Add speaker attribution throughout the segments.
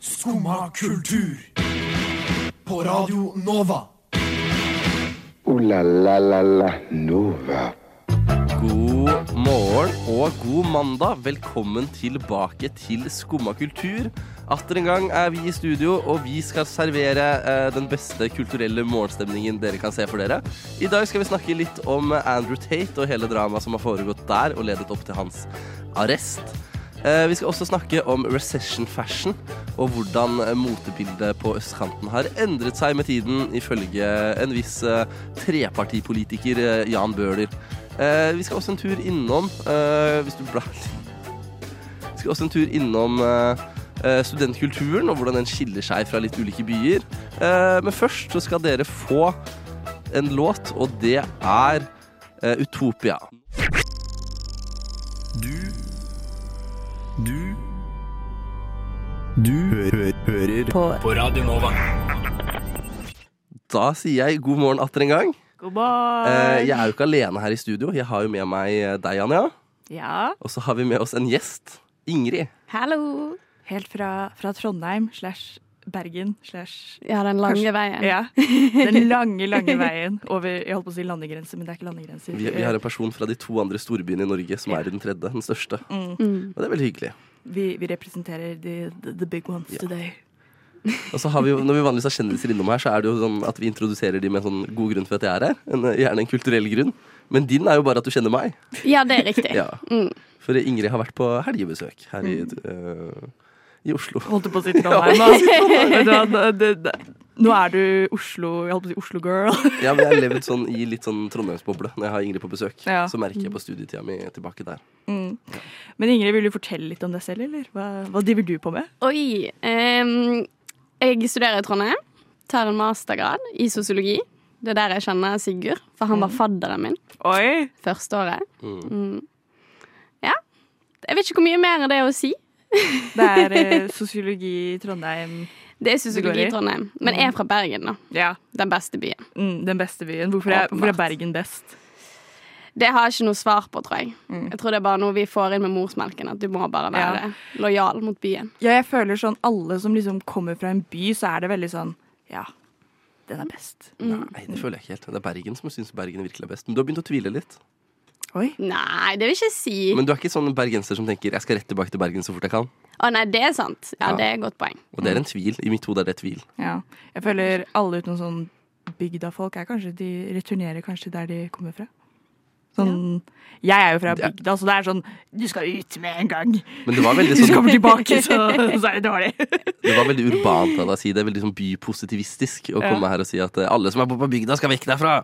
Speaker 1: Skumma kultur. På Radio Nova.
Speaker 2: Ooh la la la la Nova.
Speaker 3: God morgen og god mandag. Velkommen tilbake til Skumma kultur. Atter en gang er vi i studio, og vi skal servere eh, den beste kulturelle morgenstemningen dere kan se for dere. I dag skal vi snakke litt om eh, Andrew Tate og hele dramaet som har foregått der, og ledet opp til hans arrest. Eh, Vi skal også snakke om recession fashion, og hvordan eh, motebildet på østkanten har endret seg med tiden, ifølge en viss eh, trepartipolitiker eh, Jan Bøhler. Eh, Vi skal også en tur innom eh, Hvis du blar Vi skal også en tur innom eh, eh, studentkulturen, og hvordan den skiller seg fra litt ulike byer. Eh, Men først så skal dere få en låt, og det er eh, Utopia.
Speaker 4: Du Du Du hø hø hører på. Radio Nova.
Speaker 3: Da sier jeg god morgen atter en gang.
Speaker 5: God morgen.
Speaker 3: Eh, jeg er jo ikke alene her i studio. Jeg har jo med meg eh, deg, Anja.
Speaker 5: Ja.
Speaker 3: Og så har vi med oss en gjest. Ingrid.
Speaker 5: Hallo. Helt fra, fra Trondheim slash Bergen slash
Speaker 6: Ja, den lange veien.
Speaker 5: Ja. Den lange, lange veien over Jeg holdt på å si landegrense, men det er ikke landegrenser.
Speaker 3: Vi, vi har en person fra de to andre storbyene i Norge som er i den tredje. Den største.
Speaker 6: Mm.
Speaker 3: Og det er veldig hyggelig.
Speaker 5: vi, vi representerer the, the, the big ones
Speaker 3: Ja.
Speaker 5: today.
Speaker 3: Og så har vi jo, Når vi vanligvis har kjendiser innom her, så er det jo sånn at vi introduserer de med en sånn god grunn for at jeg er her. En, eh, gjerne en kulturell grunn. Men din er jo bare at du kjenner meg.
Speaker 6: Ja, det er riktig.
Speaker 3: Ja.
Speaker 6: Mm.
Speaker 3: For Ingrid har vært på helgebesøk her i, eh, i Oslo.
Speaker 5: Holdt på Mm. å si Trondheim, da. Vet du hva, det, det, nå er du Oslo Jeg holdt på å si Oslo-girl.
Speaker 3: Ja, men jeg har levd sånn i litt sånn Trondheimsboble når jeg har Ingrid på besøk.
Speaker 5: Ja. Mm.
Speaker 3: Så merker jeg på studietida mi tilbake der.
Speaker 5: Men Ingrid, vil du fortelle litt om deg selv, eller? Hva, hva driver du på med?
Speaker 6: Oi. ehm, jeg studerer i Trondheim. Tar en mastergrad i sosiologi. Det er der jeg kjenner Sigurd, for han var fadderen min
Speaker 5: Oi!
Speaker 6: første året.
Speaker 3: Mm.
Speaker 6: Mm. Ja. Jeg vet ikke hvor mye mer det er å si.
Speaker 5: Det er eh, sosiologi i Trondheim.
Speaker 6: Det
Speaker 5: Det
Speaker 6: er
Speaker 5: går
Speaker 6: sosiologi
Speaker 5: i.
Speaker 6: i Trondheim. Men jeg er fra Bergen, da.
Speaker 5: Ja.
Speaker 6: Den beste byen.
Speaker 5: Mm, den beste byen. Hvorfor er, hvorfor er
Speaker 6: Åpenbart.
Speaker 5: Bergen best?
Speaker 6: Det har jeg ikke noe svar på, tror jeg.
Speaker 5: Mm.
Speaker 6: Jeg tror det er bare noe vi får inn med morsmelken, at du må bare være lojal mot byen.
Speaker 5: Ja, jeg føler sånn alle som liksom kommer fra en by, så er det veldig sånn Ja, den er best.
Speaker 3: Nei, det føler jeg ikke helt. Det er Bergen som syns Bergen virkelig er best. Men du har begynt å tvile litt.
Speaker 5: Oi.
Speaker 6: Nei, det vil jeg ikke si.
Speaker 3: Men du er ikke sånn bergenser som tenker 'jeg skal rett tilbake til Bergen så fort jeg kan'.
Speaker 6: Å nei, det er sant. Ja,
Speaker 3: Ja.
Speaker 6: det er et godt poeng.
Speaker 3: Og det er
Speaker 5: Mm.
Speaker 3: en tvil. I mitt hode er det tvil.
Speaker 5: Ja. Jeg føler alle utenom sånn bygdafolk er kanskje De returnerer kanskje der de kommer fra. Sånn Jeg er jo fra
Speaker 3: Ja.
Speaker 5: bygda, så det er sånn Du skal ut med en gang!
Speaker 3: Men det var veldig
Speaker 5: Hvis du
Speaker 3: sånn
Speaker 5: kommer tilbake, så, så er det dårlig.
Speaker 3: Det var veldig urbant av deg å si det. Veldig sånn bypositivistisk å
Speaker 5: Ja.
Speaker 3: komme her og si at eh, alle som er på på bygda, skal vekk derfra.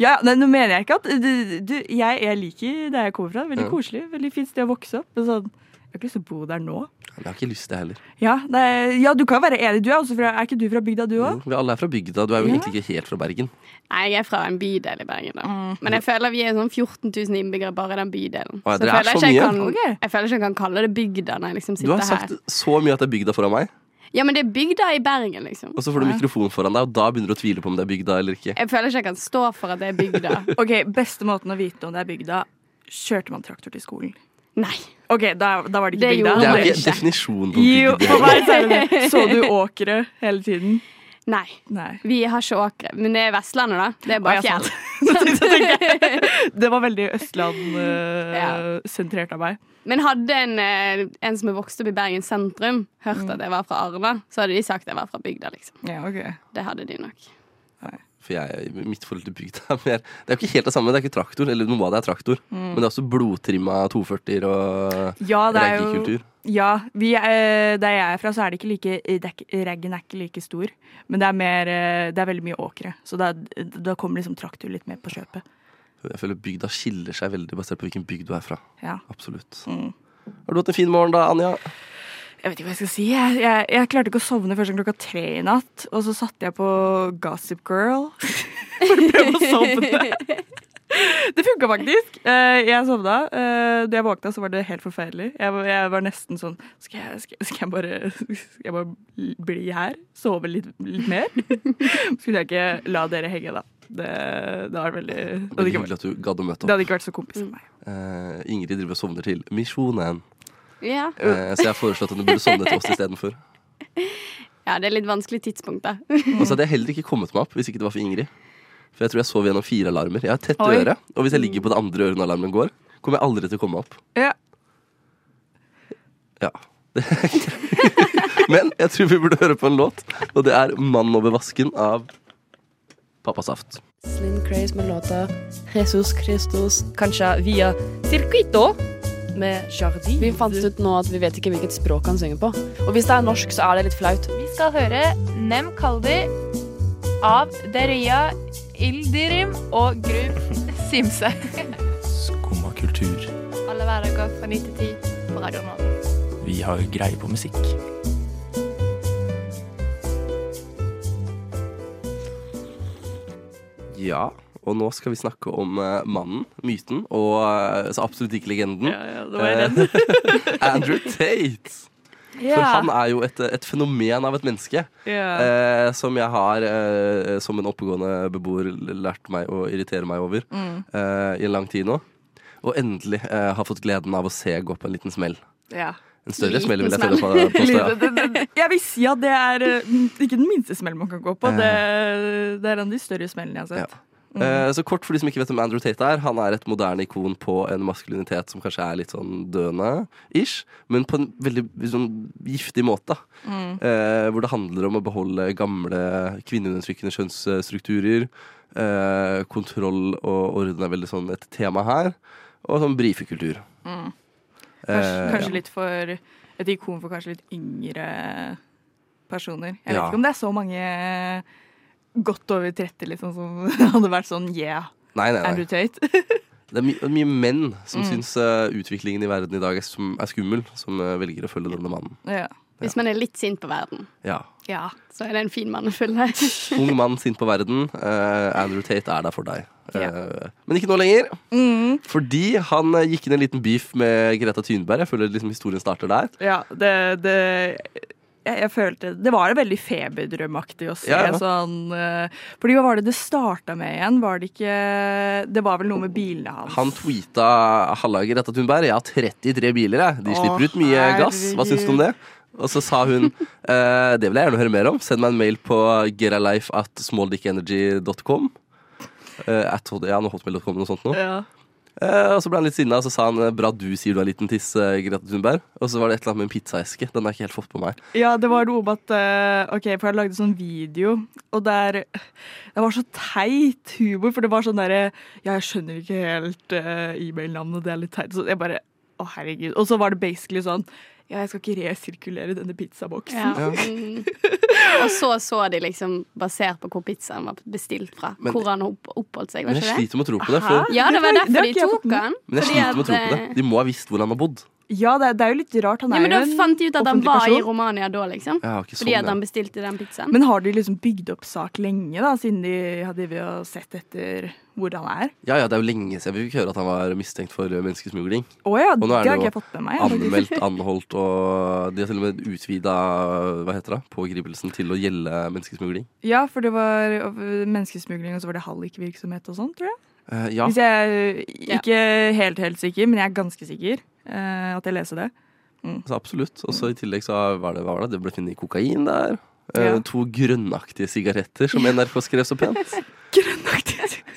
Speaker 5: Ja, nei, nå mener jeg ikke at du, du, jeg, jeg liker der jeg kommer fra. Veldig koselig. Veldig fint sted å vokse opp. Men sånn, jeg har ikke lyst til å bo der nå.
Speaker 3: Men jeg har ikke lyst til det heller.
Speaker 5: Ja, det er, ja, du kan være enig. Du er, også fra, er ikke du fra bygda, du òg?
Speaker 3: Jo, Vi alle er fra bygda. Du er jo
Speaker 5: Ja.
Speaker 3: egentlig ikke helt fra Bergen.
Speaker 6: Nei, jeg er fra en bydel i Bergen. da
Speaker 5: Mm.
Speaker 6: Men jeg føler vi er sånn 14 000 innbyggere bare i den bydelen.
Speaker 3: Å, ja,
Speaker 6: jeg
Speaker 3: dere er
Speaker 6: føler
Speaker 3: så
Speaker 6: ikke jeg
Speaker 3: mye.
Speaker 6: kan,
Speaker 5: Ok.
Speaker 6: jeg føler ikke jeg kan kalle det bygda når jeg liksom
Speaker 3: Du har
Speaker 6: sitter
Speaker 3: sagt
Speaker 6: her.
Speaker 3: så mye at det er bygda foran meg,
Speaker 6: Ja, men det er bygda i Bergen, liksom.
Speaker 3: og så får du mikrofon foran deg, og da begynner du å tvile på om det er bygda eller ikke.
Speaker 6: Jeg føler ikke jeg kan stå for at det er bygda.
Speaker 5: Ok, Beste måten å vite om det er bygda Kjørte man traktor til skolen?
Speaker 6: Nei.
Speaker 5: Ok, Da, da var det ikke
Speaker 6: Det
Speaker 5: bygda.
Speaker 6: gjorde
Speaker 3: Det er jo
Speaker 6: Nei,
Speaker 3: ikke
Speaker 6: ikke.
Speaker 3: definisjonen på
Speaker 5: Jo, for
Speaker 3: bygda.
Speaker 5: meg så er det det. Så du åkre hele tiden?
Speaker 6: Nei.
Speaker 5: Nei.
Speaker 6: Vi har ikke åkre. Men det er Vestlandet, da. Det
Speaker 5: Å, ja,
Speaker 6: er bare
Speaker 5: sant.
Speaker 6: fjell.
Speaker 5: Nå tenkte jeg- tenkte jeg. Det var veldig Østland-sentrert av meg.
Speaker 6: Men hadde en, eh, en som er vokst opp i Bergen sentrum, hørt
Speaker 5: Mm.
Speaker 6: at jeg var fra Arna, så hadde de sagt at jeg var fra bygda, liksom.
Speaker 5: Ja, ok.
Speaker 6: Det hadde de nok.
Speaker 3: For jeg, mitt forhold til bygda er mer Det er jo ikke helt det samme. Det er ikke traktor, eller noe av det er traktor. Men det er også blodtrimma 240-er og
Speaker 5: Mm. Ja, det er jo
Speaker 3: reggekultur.
Speaker 5: ja, vi, eh, Der jeg er fra, så er det ikke like eh, det er ikke- Reggen er ikke like stor. Men det er, mer, eh, det er veldig mye åkre. Så da, da kommer liksom traktor litt med på kjøpet.
Speaker 3: Jeg føler bygda skiller seg veldig basert på hvilken bygd du er fra.
Speaker 5: Ja.
Speaker 3: Absolutt.
Speaker 5: Mm.
Speaker 3: Har du hatt en fin morgen da, Anja?
Speaker 5: Jeg vet ikke hva jeg skal si. Jeg, jeg, jeg klarte ikke å sovne først klokka tre i natt. Og så satte jeg på Gossip Girl for å prøve å sovne. Det funka faktisk. Eh, Jeg sovna. Eh, Da jeg våkna, så var det helt forferdelig. Jeg, var- jeg var nesten sånn Skal jeg, skal, jeg- skal, jeg bare, skal jeg bare bli her? Sove litt, litt mer? Skulle jeg ikke la dere henge, da. Det, det var veldig det
Speaker 3: Veldig
Speaker 5: hadde, ikke, vært-
Speaker 3: hyggelig at du gadd å møte
Speaker 5: det
Speaker 3: opp.
Speaker 5: hadde ikke vært så kompis for meg.
Speaker 3: Eh, Ingrid driver og sovner til Misjonen.
Speaker 6: Ja.
Speaker 3: Eh, så jeg har foreslått at du burde sovne til oss istedenfor.
Speaker 6: Ja, det er litt vanskelig tidspunkt, da.
Speaker 3: Og så Altså, hadde jeg heller ikke kommet meg opp hvis ikke det var for Ingrid. For jeg tror jeg sov gjennom fire alarmer. Jeg har tett
Speaker 5: Oi. Mm.
Speaker 3: øre, og hvis jeg ligger på det andre øret når alarmen går, kommer jeg aldri til å komme meg opp.
Speaker 5: Ja.
Speaker 3: Ja. Det er greit. Men jeg tror vi burde høre på en låt, og det er 'Mann over vasken' av Pappa Saft.
Speaker 7: Slim Craze med låta Jesus Christus, kanskje via Circuito med Jardin.
Speaker 8: Vi fant ut nå at vi vet ikke hvilket språk han synger på.
Speaker 7: Og hvis det er norsk, så er det litt flaut.
Speaker 9: Vi skal høre Nem Kaldi av Derya Ildirim og Grub Simse.
Speaker 4: Skumma kultur.
Speaker 9: Alle hverdager fra 9 til 10 på Radio Nova.
Speaker 4: Vi har greie på musikk.
Speaker 3: Ja, og nå skal vi snakke om eh, mannen, myten, og eh, så absolutt ikke legenden.
Speaker 5: Ja, ja, det var
Speaker 3: Eh,
Speaker 5: jeg redd.
Speaker 3: Andrew Tate. For han er jo et, et fenomen av et menneske.
Speaker 5: Ja.
Speaker 3: eh, som jeg har, eh, som en oppegående beboer, lært meg å irritere meg over
Speaker 5: Mm.
Speaker 3: eh, i en lang tid nå. Og endelig eh, har fått gleden av å se gå på en liten smell.
Speaker 5: ja.
Speaker 3: En større
Speaker 6: Liten
Speaker 3: smell, vil jeg
Speaker 6: smell.
Speaker 3: tørre på- påstå.
Speaker 5: Det-
Speaker 3: Ja.
Speaker 5: det- det- Jeg vil si at det er eh, ikke den minste smellen man kan gå på. Det, det er en av de større smellene jeg har sett.
Speaker 3: Eh, Så kort for de som ikke vet hvem Andrew Tate er. Han er et moderne ikon på en maskulinitet som kanskje er litt sånn døende, ish, men på en veldig sånn giftig måte. da.
Speaker 5: Mm.
Speaker 3: Eh, hvor det handler om å beholde gamle kvinneundertrykkende kjønnsstrukturer. Eh, kontroll og orden er veldig sånn et tema her. Og sånn brifekultur.
Speaker 5: Kanskje,
Speaker 3: Eh,
Speaker 5: kanskje litt for et ikon for kanskje litt yngre personer. Jeg vet
Speaker 3: Ja.
Speaker 5: ikke om det er så mange eh, godt over 30 liksom, som hadde vært sånn yeah,
Speaker 3: Nei, nei, nei.
Speaker 5: Andrew Tate. Mm.
Speaker 3: Det er my mye menn som syns eh, utviklingen i verden i dag er, skum er skummel, som eh, velger å følge denne mannen.
Speaker 5: ja.
Speaker 6: Hvis man er litt sint på verden,
Speaker 3: Ja.
Speaker 5: ja.
Speaker 6: så er det en fin mann å følge.
Speaker 3: Ung mann sint på verden. Eh, Andrew Tate er der for deg. Eh, men ikke nå lenger. Fordi han eh, gikk inn i en liten beef med Greta Thunberg. Jeg føler liksom historien starter der.
Speaker 5: ja det, det jeg, jeg følte Det var veldig feberdrømaktig å se
Speaker 3: Ja, ja.
Speaker 5: sånn eh, Fordi hva var det det starta med igjen? Var det ikke Det var vel noe med bilene hans?
Speaker 3: Han tweeta 'Halla, Greta Thunberg, jeg har 33 biler, jeg. De
Speaker 5: Å,
Speaker 3: slipper ut mye gass. Hva syns du om det?' Og så sa hun eh, 'Det vil jeg gjerne høre mer om. Send meg en mail på getalife at smalldickenergy.com'. Eh, at, ja, nå hotmail.com noe sånt nå.
Speaker 5: ja.
Speaker 3: Eh, og så ble han litt sinna, og så sa han eh, 'bra du sier du er liten tiss', eh, Greta Thunberg. Og så var det et eller annet med en pizzaeske. Den har jeg ikke helt fått på meg.
Speaker 5: Ja, det var noe om at eh, Ok, for jeg lagde sånn video, og der Det var så teit humor, for det var sånn derre Ja, jeg skjønner ikke helt eh, e-mail-navnet, det er litt teit. Så jeg bare Å, herregud. Og så var det basically sånn Ja, jeg skal ikke resirkulere denne pizzaboksen.
Speaker 6: Ja. Mm. Og så så de liksom, basert på hvor pizzaen var bestilt fra,
Speaker 3: Men-
Speaker 6: hvor han opp oppholdt seg.
Speaker 3: Men
Speaker 6: Var
Speaker 3: jeg
Speaker 6: ikke det?
Speaker 3: sliter med å tro på det. For,
Speaker 6: Ja, det var
Speaker 5: Det har- det har
Speaker 6: derfor de
Speaker 5: ikke jeg fått
Speaker 6: tok
Speaker 5: med.
Speaker 6: han.
Speaker 3: men jeg
Speaker 6: fordi
Speaker 3: sliter med å tro
Speaker 6: at,
Speaker 3: på det. De må ha visst hvor han har bodd.
Speaker 5: Ja, det, er- det er jo litt rart. Han
Speaker 6: Ja,
Speaker 5: er
Speaker 6: men da
Speaker 5: jo en
Speaker 6: fant de ut at han
Speaker 5: offentlig
Speaker 6: var i
Speaker 5: person.
Speaker 6: Romania da, liksom.
Speaker 3: Ja, ikke sånn,
Speaker 6: Fordi at
Speaker 3: ja.
Speaker 6: han bestilte den pizzaen.
Speaker 5: Men har de liksom bygd opp sak lenge, da, siden de hadde vi jo sett etter hvor han er?
Speaker 3: ja, ja, det er jo lenge siden vi fikk høre at han var mistenkt for eh, menneskesmugling.
Speaker 5: Å ja,
Speaker 3: nå
Speaker 5: det,
Speaker 3: er det
Speaker 5: har
Speaker 3: jo
Speaker 5: ikke jeg fått med meg. faktisk.
Speaker 3: Anmeldt, anholdt, og de har til og med utvida hva heter det, pågripelsen til å gjelde menneskesmugling.
Speaker 5: Ja, for det var øh, menneskesmugling, og så var det hallikvirksomhet og sånn, tror jeg.
Speaker 3: Eh, ja,
Speaker 5: Hvis jeg øh, ikke helt, helt sikker, men jeg er ganske sikker eh, at jeg leser det.
Speaker 3: så absolutt. Og så i tillegg så var det, hva var det, det ble funnet kokain der. Eh,
Speaker 5: Ja.
Speaker 3: To grønnaktige sigaretter, som NRK skrev så pent.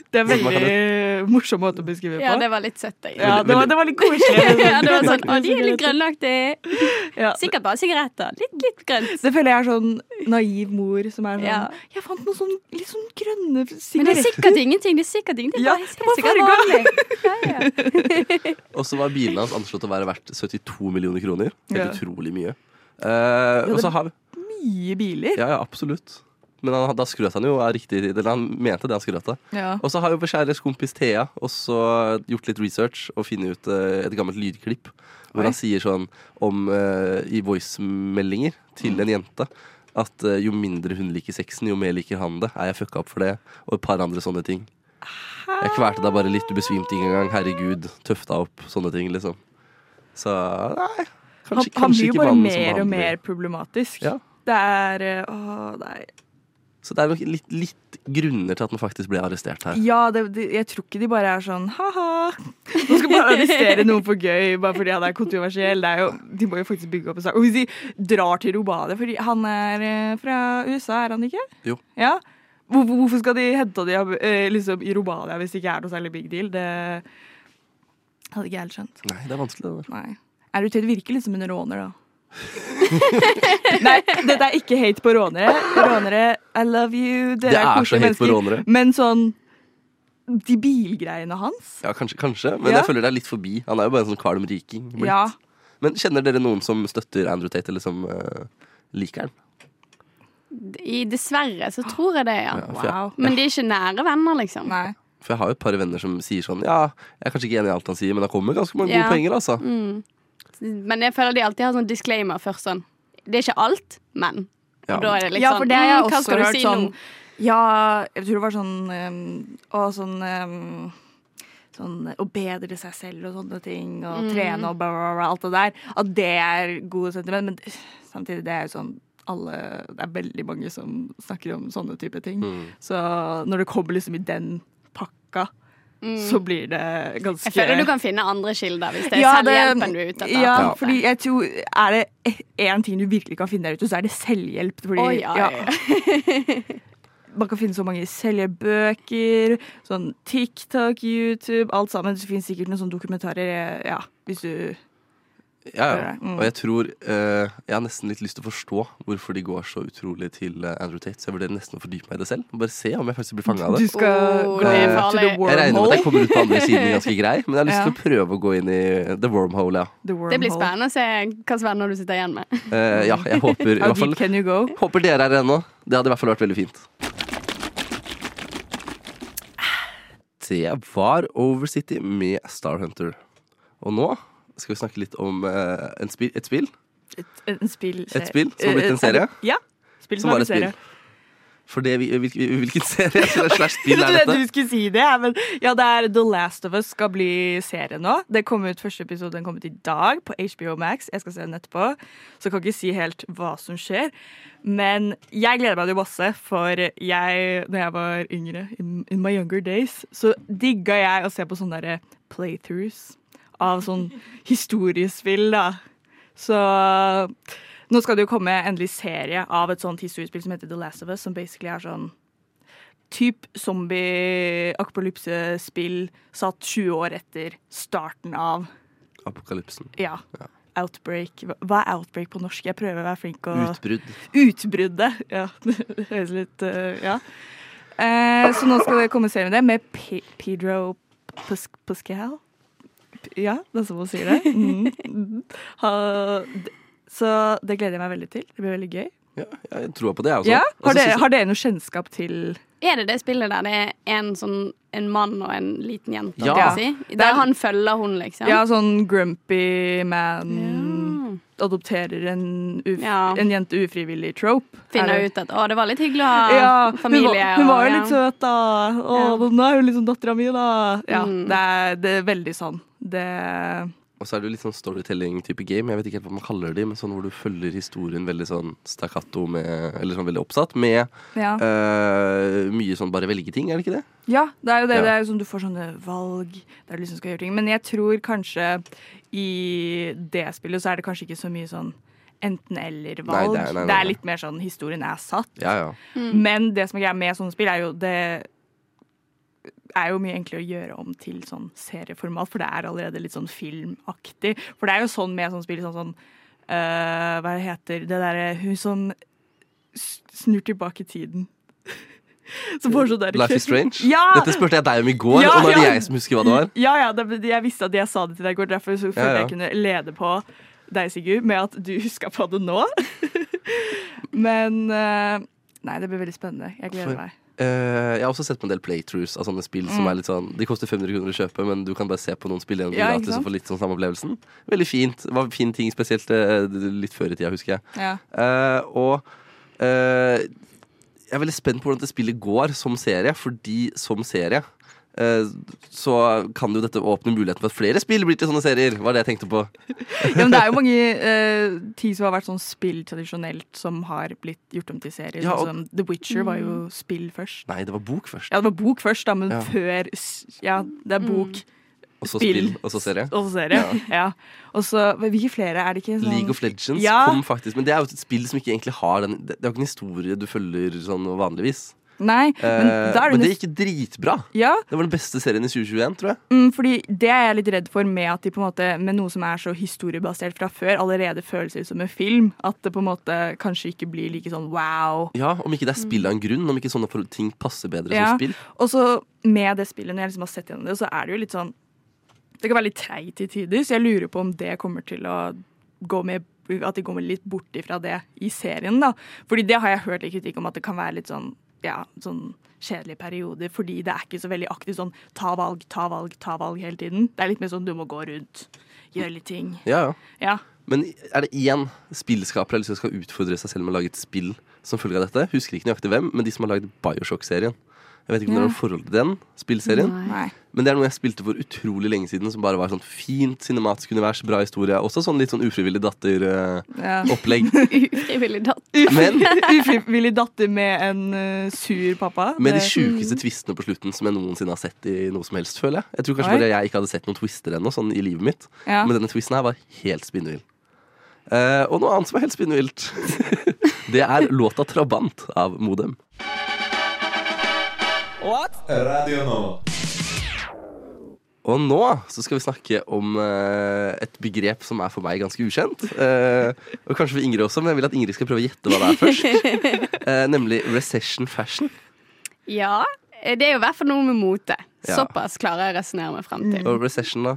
Speaker 5: Det er
Speaker 3: Hvordan man kan
Speaker 5: veldig morsom måte å beskrive det på.
Speaker 6: Ja, det var litt søtt, jeg.
Speaker 5: Ja, det var, det var litt koselig. med
Speaker 6: Ja,
Speaker 5: sånn
Speaker 6: det var sånn, å, de er litt
Speaker 5: grønnaktig sigarett.
Speaker 6: grønnaktig.
Speaker 5: Ja.
Speaker 6: Sikkert bare sigaretter. Litt, litt grønt.
Speaker 5: Det føler jeg er sånn naiv mor som er sånn
Speaker 6: Ja.
Speaker 5: Jeg fant noen sånn litt sånn grønne
Speaker 6: Men det er
Speaker 5: sigaretter.
Speaker 6: sikkert ingenting. Det er sikkert ingenting.
Speaker 5: Ja,
Speaker 6: det
Speaker 5: det var
Speaker 6: sikkert
Speaker 5: farga.
Speaker 6: vanlig. Ja, ja.
Speaker 3: Og så var bilene hans anslått å være verdt 72 millioner kroner. Helt
Speaker 5: Ja.
Speaker 3: utrolig mye. Eh, og så har vi
Speaker 5: Mye biler.
Speaker 3: Ja, ja, absolutt. Men han, da skrøt han jo av riktig Eller han mente det han skrøt av.
Speaker 5: Ja.
Speaker 3: Og så har jo vår kjære kompis Thea også gjort litt research og funnet ut eh, et gammelt lydklipp hvor han sier sånn om eh, i voicemeldinger
Speaker 5: Mm.
Speaker 3: til en jente at eh, jo mindre hun liker sexen, jo mer liker han det. Er jeg fucka opp for det? Og et par andre sånne ting. Jeg kvalte deg bare litt, du besvimte ikke engang. Herregud. Tøff deg opp. Sånne ting, liksom. Så nei. Kanskje,
Speaker 5: Han, han
Speaker 3: kanskje
Speaker 5: blir jo
Speaker 3: ikke
Speaker 5: bare
Speaker 3: mannen som
Speaker 5: mer og
Speaker 3: han blir.
Speaker 5: mer problematisk.
Speaker 3: Ja.
Speaker 5: Det er eh, Å, øh, nei.
Speaker 3: Så det er nok litt, litt grunner til at han faktisk ble arrestert her.
Speaker 5: Ja, det, det, jeg tror ikke de bare er sånn ha-ha. Nå skal vi bare arrestere noen for gøy bare fordi han er kontroversiell. Det er jo, de må jo faktisk bygge opp en sak. Og hvis de drar til Robade, fordi han er eh, fra USA, er han ikke?
Speaker 3: Jo.
Speaker 5: Ja. Hvor, hvor- hvorfor skal de hente de eh, liksom, i Robalia hvis det ikke er noe særlig big deal? Det hadde ikke jeg helt skjønt.
Speaker 3: Nei, det er vanskelig, det der.
Speaker 5: Nei. Er du til det virker litt som en råner, da? Nei, dette er ikke hate på rånere. Rånere, I love you. Dere
Speaker 3: Det er så
Speaker 5: koselige
Speaker 3: hate på
Speaker 5: mennesker.
Speaker 3: rånere.
Speaker 5: Men sånn De bilgreiene hans?
Speaker 3: Ja, kanskje, kanskje men
Speaker 5: Ja.
Speaker 3: jeg føler det er litt forbi. Han er jo bare en sånn Carl Riking. blitt.
Speaker 5: Ja.
Speaker 3: Men kjenner dere noen som støtter Andrew Tate, eller som eh, liker han?
Speaker 6: I, dessverre så tror jeg det, ja.
Speaker 3: Ja, for jeg-
Speaker 5: Wow.
Speaker 6: Men de er ikke nære venner, liksom.
Speaker 5: Nei.
Speaker 3: For jeg har jo et par venner som sier sånn Ja, jeg er kanskje ikke enig i alt han sier, men han kommer med ganske mange
Speaker 6: Ja.
Speaker 3: gode poenger, altså.
Speaker 6: Mm. Men jeg føler de alltid har sånn disclaimer først sånn. Det er ikke alt, men. Og
Speaker 3: Ja.
Speaker 6: da er det litt
Speaker 5: Ja,
Speaker 6: sånn
Speaker 5: for det har
Speaker 6: «Mm,
Speaker 5: jeg
Speaker 6: Hva
Speaker 5: også
Speaker 6: skal du
Speaker 5: hørt
Speaker 6: si
Speaker 5: sånn
Speaker 6: nå?
Speaker 5: Ja, jeg tror det var sånn ehm, Og sånn ehm, Sånn å bedre seg selv og sånne ting, og
Speaker 6: Mm.
Speaker 5: trene og bla, bla, bla, alt det der. At det er gode sentiment. Men øh, samtidig, det er jo sånn alle Det er veldig mange som snakker om sånne type ting. Så når det kommer liksom i den pakka, så blir det ganske
Speaker 6: Mm. Jeg føler du kan finne andre kilder hvis det er
Speaker 5: Ja, det-
Speaker 6: selvhjelpen du er ute etter.
Speaker 5: Ja,
Speaker 3: Ja.
Speaker 5: fordi jeg tror Er det én ting du virkelig kan finne der ute, så er det selvhjelp. Fordi,
Speaker 6: Å, ja, ja,
Speaker 5: Man kan finne så mange selvhjelpbøker, sånn TikTok, YouTube, alt sammen. Det finnes sikkert noen sånne dokumentarer, ja, hvis du
Speaker 3: Ja,
Speaker 5: Det
Speaker 3: ja.
Speaker 5: er det. Mm.
Speaker 3: Og jeg tror eh, Jeg har nesten litt lyst til å forstå hvorfor de går så utrolig til eh, Andrew Tate, så jeg vurderer nesten å fordype meg i det selv. Bare se om jeg faktisk blir fanga av
Speaker 5: Du
Speaker 3: det.
Speaker 5: skal
Speaker 6: Oh,
Speaker 5: gå
Speaker 3: det er
Speaker 5: to the
Speaker 6: farlig.
Speaker 3: Jeg regner med at jeg
Speaker 5: wormhole.
Speaker 3: kommer ut på andre siden ganske grei, men jeg har lyst til å
Speaker 5: Ja.
Speaker 3: prøve å gå inn i the wormhole, ja.
Speaker 5: The wormhole.
Speaker 6: Det blir spennende å se hvilke venner du sitter igjen med.
Speaker 3: Eh, ja, jeg håper i
Speaker 5: How
Speaker 3: hvert fall
Speaker 5: deep can you go?
Speaker 3: Håper dere er her ennå. Det hadde i hvert fall vært veldig fint. Det var Overcity med Starhunter. Og nå skal vi snakke litt om eh, en spi- et spill
Speaker 5: En spill Eh,
Speaker 3: Et spill som har blitt en serie?
Speaker 5: Ja. Spill
Speaker 3: som
Speaker 5: har
Speaker 3: var et
Speaker 5: blitt
Speaker 3: spill.
Speaker 5: serie.
Speaker 3: For det vi, hvil, hvil- hvilken serie slash spill er
Speaker 5: Jeg trodde
Speaker 3: dette?
Speaker 5: du skulle si det, men ja, det er The Last of Us skal bli serie nå. Det kom ut første episode, den kom ut i dag på HBO Max. Jeg skal se den etterpå, så jeg kan ikke si helt hva som skjer. Men jeg gleder meg til masse, for jeg, når jeg var yngre, in, in my younger days, så digga jeg å se på sånne derre playthroughs av sånn historiespill, da. Så nå skal det jo komme endelig serie av et sånt historiespill som heter The Last of Us, som basically er sånn typ zombie-apokalypsespill satt 20 år etter starten av
Speaker 3: Apokalypsen.
Speaker 5: ja, Outbreak. Hva- Hva er Outbreak på norsk? Jeg prøver å være flink å
Speaker 3: Utbrudd.
Speaker 5: Utbruddet. Ja, det høres litt eh, Ja. Eh, så nå skal det komme serie med det, med Pe- Pedro Pus Pascal. P- Ja, det er sånn man sier det. Mm. Mm. Ha, d- så det gleder jeg meg veldig til. Det blir veldig gøy.
Speaker 3: Ja, jeg tror på det, jeg også.
Speaker 5: Ja?
Speaker 3: Og så
Speaker 5: Har, dere,
Speaker 3: synes
Speaker 5: har dere noe kjennskap til
Speaker 6: Er det det spillet der det er en, sånn, en mann og en liten jente?
Speaker 3: Ja.
Speaker 6: kan jeg Si?
Speaker 5: Det er-
Speaker 6: Der han følger hun, liksom? Mm.
Speaker 5: Ja, sånn grumpy man
Speaker 6: Ja.
Speaker 5: adopterer en, uf
Speaker 6: Ja.
Speaker 5: en jente ufrivillig trope.
Speaker 6: Finner
Speaker 5: Er det-
Speaker 6: ut at 'å, det var litt hyggelig å ha
Speaker 5: Ja,
Speaker 6: familie'.
Speaker 5: hun var, hun
Speaker 6: og-
Speaker 5: var jo
Speaker 6: ja.
Speaker 5: litt søt, da. Å,
Speaker 6: Ja.
Speaker 5: nå er hun liksom dattera mi, da. Ja,
Speaker 6: Mm.
Speaker 5: det, er, det er veldig sånn. Det
Speaker 3: jeg- Og så er det jo litt sånn storytelling-type game. Jeg vet ikke helt hva man kaller de, men sånn hvor du følger historien veldig sånn stakkato med Eller sånn veldig oppsatt med
Speaker 5: Ja,
Speaker 3: eh, mye sånn bare velge ting, er det ikke det?
Speaker 5: ja det er jo det.
Speaker 3: Ja.
Speaker 5: det er jo sånn, du får sånne valg der du liksom skal gjøre ting. Men jeg tror kanskje i det spillet så er det kanskje ikke så mye sånn
Speaker 3: Nei, det er- nei,
Speaker 5: enten-eller-valg.
Speaker 3: nei,
Speaker 5: det
Speaker 3: nei.
Speaker 5: er litt mer sånn historien er satt.
Speaker 3: Ja, ja.
Speaker 5: Men det som er greia med sånne spill, er jo det er jo mye enklere å gjøre om til sånn serieformat, for det er allerede litt sånn filmaktig. For det er jo sånn med sånne spill, sånn som øh, Hva det heter det derre Hun som s- snur tilbake i tiden. Som får sånn derre
Speaker 3: Life is strange?
Speaker 5: Ja!
Speaker 3: Dette spurte jeg deg om i går,
Speaker 5: Ja,
Speaker 3: og nå er det
Speaker 5: ja.
Speaker 3: jeg som husker hva det var.
Speaker 5: Ja, ja, det, jeg visste at jeg sa det til deg i går, derfor så følte
Speaker 3: Ja, ja.
Speaker 5: jeg kunne lede på deg, Sigurd, med at du huska på det nå. Men øh, Nei, det blir veldig spennende. Jeg
Speaker 3: For-
Speaker 5: gleder meg.
Speaker 3: Eh, jeg har også sett på en del playthroughs av sånne spill som
Speaker 5: Mm.
Speaker 3: er litt sånn De koster 500 kroner å kjøpe, men du kan bare se på noen spill igjen
Speaker 5: Ja, ikke
Speaker 3: gratis
Speaker 5: sant?
Speaker 3: og få litt sånn samme opplevelsen. Veldig fint. Det var en fin ting, spesielt eh, litt før i tida, husker jeg.
Speaker 5: Ja.
Speaker 3: Eh, og eh, jeg er veldig spent på hvordan det spillet går som serie, fordi som serie eh, så kan jo dette åpne muligheten for at flere spill blir til sånne serier. Var det jeg tenkte på.
Speaker 5: Ja, men det er jo mange eh, ting som har vært sånn spill tradisjonelt, som har blitt gjort om til serier.
Speaker 3: Ja, og-
Speaker 5: sånn som The Witcher var jo spill først.
Speaker 3: Nei, det var bok først.
Speaker 5: Ja, det var bok først, da, men
Speaker 3: Ja.
Speaker 5: før s- Ja, det er bok,
Speaker 3: Og så spill,
Speaker 5: spill.
Speaker 3: og så serie.
Speaker 5: og så serie. Ja. Og så Hvilke flere er det ikke? Sånn,
Speaker 3: League of Legends
Speaker 5: Ja.
Speaker 3: kom faktisk, men det er jo et spill som ikke egentlig har den Det det er jo ikke en historie du følger sånn vanligvis.
Speaker 5: Nei, men
Speaker 3: Eh,
Speaker 5: da er
Speaker 3: men
Speaker 5: det
Speaker 3: det
Speaker 5: nest-
Speaker 3: gikk dritbra.
Speaker 5: ja,
Speaker 3: Det var den beste serien i 2021, tror jeg.
Speaker 5: mm, fordi det er jeg litt redd for med at de på en måte, med noe som er så historiebasert fra før, allerede føles ut som en film. At det på en måte kanskje ikke blir like sånn wow.
Speaker 3: Ja, Om ikke det er spill av en grunn, om ikke sånne for- ting passer bedre
Speaker 5: Ja.
Speaker 3: som spill.
Speaker 5: Og så med det spillet, når jeg liksom har sett gjennom det, så er det jo litt sånn Det kan være litt treigt i tider, så jeg lurer på om det kommer til å gå med At de kommer litt bort ifra det i serien, da. Fordi det har jeg hørt litt kritikk om at det kan være litt sånn ja, sånn kjedelige perioder, fordi det er ikke så veldig aktivt sånn ta valg, ta valg, ta valg hele tiden. Det er litt mer sånn du må gå rundt, gjøre litt ting.
Speaker 3: Ja, ja.
Speaker 5: Ja.
Speaker 3: Men er det én spillskaper jeg har lyst til skal utfordre seg selv med å lage et spill som følge av dette? Husker ikke nøyaktig hvem, men de som har lagd Bioshock-serien. Jeg vet ikke om dere har noe forhold til den spillserien,
Speaker 5: Nei.
Speaker 3: men det er noe jeg spilte for utrolig lenge siden, som bare var sånn fint cinematisk univers, bra historie, også sånn litt sånn ufrivillig eh, datter-opplegg.
Speaker 5: Ja.
Speaker 6: Ufrivillig datter.
Speaker 3: Men
Speaker 5: Ufrivillig datter med en eh, sur pappa.
Speaker 3: med de
Speaker 5: Det- Mm.
Speaker 3: sjukeste twistene på slutten som jeg noensinne har sett i noe som helst, føler jeg. Jeg tror kanskje
Speaker 5: Oi.
Speaker 3: bare jeg ikke hadde sett noen twister ennå, sånn i livet mitt.
Speaker 5: ja.
Speaker 3: Men denne twisten her var helt spinnvill. Eh, og noe annet som er helt spinnvilt, det er låta 'Trabant' av Modem. Og nå så skal vi snakke om eh, et begrep som er for meg ganske ukjent. Eh, og kanskje for Ingrid også, men jeg vil at Ingrid skal prøve å gjette hva det er først. Eh, nemlig recession fashion.
Speaker 6: Ja, det er jo i hvert fall noe med mote.
Speaker 3: Ja.
Speaker 6: Såpass klarer jeg å resonnere meg frem til.
Speaker 3: Og recession, da.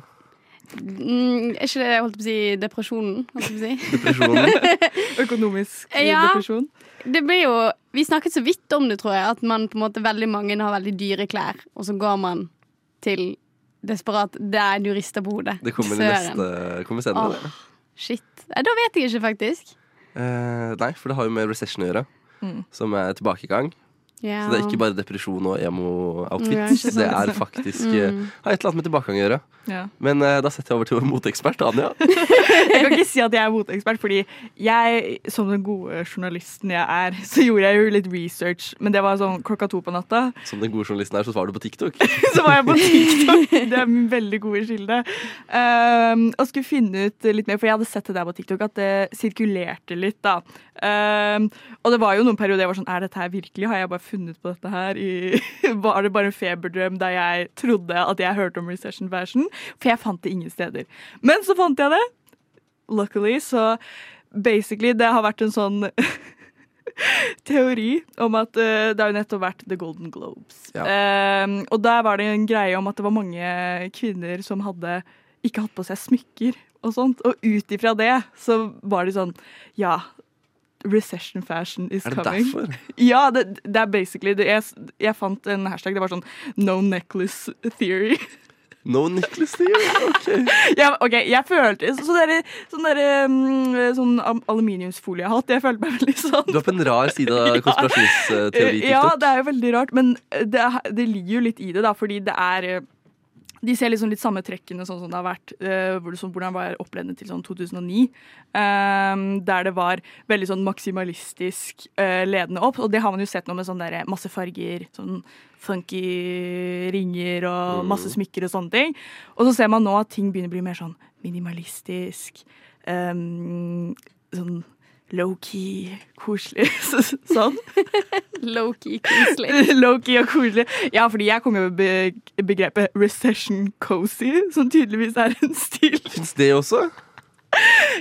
Speaker 6: Mm, er ikke det jeg holdt på å si depresjonen? Holdt på å si.
Speaker 3: Depresjonen.
Speaker 5: Økonomisk
Speaker 6: Ja.
Speaker 5: depresjon.
Speaker 6: Det blir jo, Vi snakket så vidt om det, tror jeg, at man på en måte veldig mange har veldig dyre klær, og så går man til desperat Der du rister på hodet.
Speaker 3: Det kommer i
Speaker 6: Søren.
Speaker 3: neste kommer senere.
Speaker 6: Åh. Shit. Nei, Da vet jeg ikke, faktisk.
Speaker 3: Eh, nei, for det har jo med recession å gjøre. Som er tilbakegang.
Speaker 6: Mm. Ja.
Speaker 3: Så det er ikke bare depresjon og
Speaker 6: Ja,
Speaker 3: emo-outfit.
Speaker 6: ikke sant. Mm.
Speaker 3: det er faktisk eh, har et eller annet med tilbakegang å gjøre.
Speaker 5: Ja.
Speaker 3: Men eh, da setter jeg over til vår moteekspert Anja.
Speaker 5: Jeg kan ikke si at jeg er moteekspert, fordi jeg, som den gode journalisten jeg er, så gjorde jeg jo litt research, men det var sånn klokka to på natta.
Speaker 3: Som den gode journalisten er, så svarer du på TikTok.
Speaker 5: Så var jeg på TikTok. Det er min veldig gode kilde. Um, og skulle finne ut litt mer, for jeg hadde sett det der på TikTok, at det sirkulerte litt, da. Um, og det var jo noen perioder jeg var sånn Er dette her virkelig? Har jeg bare funnet på dette her? I, var det bare en feberdrøm der jeg trodde at jeg hørte om recession fashion? For jeg fant det ingen steder. Men så fant jeg det. Luckily, så basically Det har vært en sånn teori om at eh, det har jo nettopp vært The Golden Globes.
Speaker 3: Ja.
Speaker 5: Eh, og der var det en greie om at det var mange kvinner som hadde ikke hatt på seg smykker og sånt. Og ut ifra det så var de sånn Ja, recession fashion is
Speaker 3: Er det
Speaker 5: coming.
Speaker 3: derfor?
Speaker 5: Ja, det, det er basically det. Jeg, jeg fant en hashtag. Det var sånn no necklace theory.
Speaker 3: No necklace deal.
Speaker 5: Ja, ok, jeg følte så- Sånn derre sånn, der, mm, sånn am- aluminiumsfoliehatt. Jeg følte meg veldig sånn.
Speaker 3: Du er på en rar side av
Speaker 5: Ja. Ja,
Speaker 3: konspirasjonsteori-TikTok.
Speaker 5: det er jo veldig rart, men det, det ligger jo litt i det, da, fordi det er eh, de ser liksom litt samme trekkene sånn som det har vært, eh, hvor det, sånn, hvordan var opplevende til sånn 2009, ehm, der det var veldig sånn maksimalistisk eh, ledende opp, og det har man jo sett nå med sånn der masse farger, sånn funky ringer og masse smykker og sånne ting, og så ser man nå at ting begynner å bli mer sånn minimalistisk, ehm, sånn low-key, koselig, sånn.
Speaker 6: Low-key koselig.
Speaker 5: Low-key og koselig. Ja, fordi jeg kom jo med be- begrepet recession cozy, som tydeligvis er en stil.
Speaker 3: Fins det også?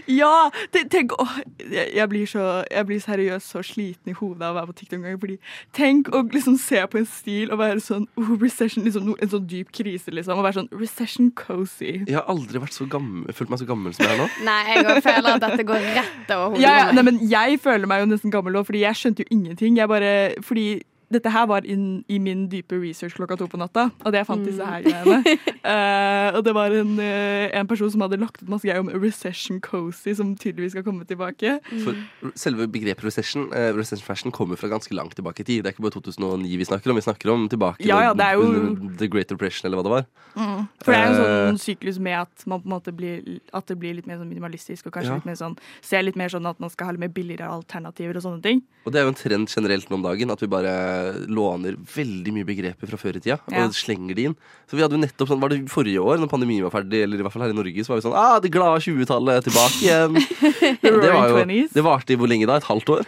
Speaker 5: Ja! te- Tenk, åh, jeg jeg blir, så, jeg blir seriøst så sliten i hodet av å være på TikTok en gang. Fordi tenk å liksom se på en stil og være sånn oh, recession, liksom, no- En sånn dyp krise, liksom. Og være sånn recession cozy.
Speaker 3: Jeg har aldri vært så gammel, følt meg så gammel som jeg er nå.
Speaker 6: Nei, jeg også føler at dette går rett over hodet.
Speaker 5: Ja, ja,
Speaker 6: på meg.
Speaker 5: nei, men jeg føler meg jo nesten gammel nå, fordi jeg skjønte jo ingenting. Jeg bare, fordi dette her var inn i min dype research klokka to på natta, og det jeg fant disse her greiene. Eh, og det var en, eh, en person som hadde lagt ut masse greier om recession cozy, som tydeligvis skal komme tilbake.
Speaker 3: For selve begrepet recession, eh, recession fashion kommer fra ganske langt tilbake i tid. Det er ikke bare 2009 vi snakker om, vi snakker om tilbake
Speaker 5: Ja, ja, det er jo- Mm.
Speaker 3: under The Great Depression eller hva det var.
Speaker 5: For det er jo
Speaker 3: Eh.
Speaker 5: en sånn syklus med at man på en måte blir, at det blir litt mer sånn minimalistisk, og kanskje
Speaker 3: Ja.
Speaker 5: litt mer sånn, ser litt mer sånn at man skal ha litt mer billigere alternativer og sånne ting.
Speaker 3: Og det er jo en trend generelt nå om dagen, at vi bare låner veldig mye begreper fra før i tida
Speaker 5: Ja.
Speaker 3: og slenger de inn. Så vi hadde jo nettopp sånn, var det forrige år, når pandemien var ferdig, eller i hvert fall her i Norge, så var vi sånn ah, det glade 20-tallet er tilbake igjen.
Speaker 5: The
Speaker 3: det var
Speaker 5: roaring
Speaker 3: jo,
Speaker 5: twenties.
Speaker 3: det varte i hvor lenge da? Et halvt år?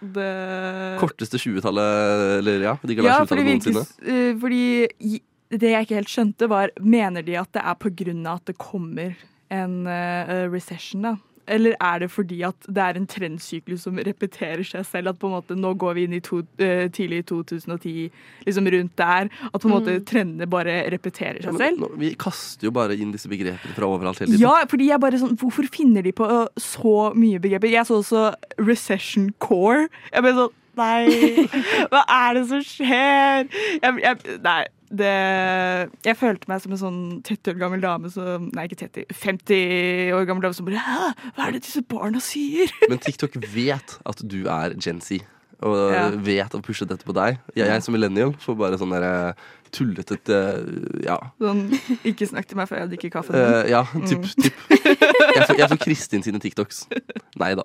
Speaker 5: Det-
Speaker 3: Korteste 20-tallet, eller ja, de glade
Speaker 5: Ja, fordi,
Speaker 3: 20-tallet
Speaker 5: virkes,
Speaker 3: noensinne.
Speaker 5: eh, fordi i- det jeg ikke helt skjønte var, mener de at det er på grunn av at det kommer en eh, recession da? Eller er det fordi at det er en trendsyklus som repeterer seg selv, at på en måte nå går vi inn i to, eh, tidlig 2010, liksom rundt der, at på en måte trendene bare repeterer
Speaker 3: Ja,
Speaker 5: seg
Speaker 3: men
Speaker 5: selv?
Speaker 3: nå- vi kaster jo bare inn disse begrepene fra overalt hele tiden.
Speaker 5: Ja, fordi jeg bare sånn, hvorfor finner de på øh, så mye begreper? Jeg så også recession core. Jeg ble sånn, nei, hva er det som skjer? Jeg, jeg, nei, det, jeg følte meg som en sånn 30 år gammel dame som, nei ikke 30, 50 år gammel dame som bare, hæ, hva er det disse barna sier?
Speaker 3: Men TikTok vet at du er Gen Z. Og
Speaker 5: Ja.
Speaker 3: vet å pushe dette på deg. Jeg, jeg som millennium får bare sånn derre tullete eh, Ja.
Speaker 5: Sånn, ikke snakk til meg før jeg drikker kaffe.
Speaker 3: Eh, ja, typ.
Speaker 5: Mm.
Speaker 3: typ. Jeg, så, jeg så Kristin sine TikToks. Nei da.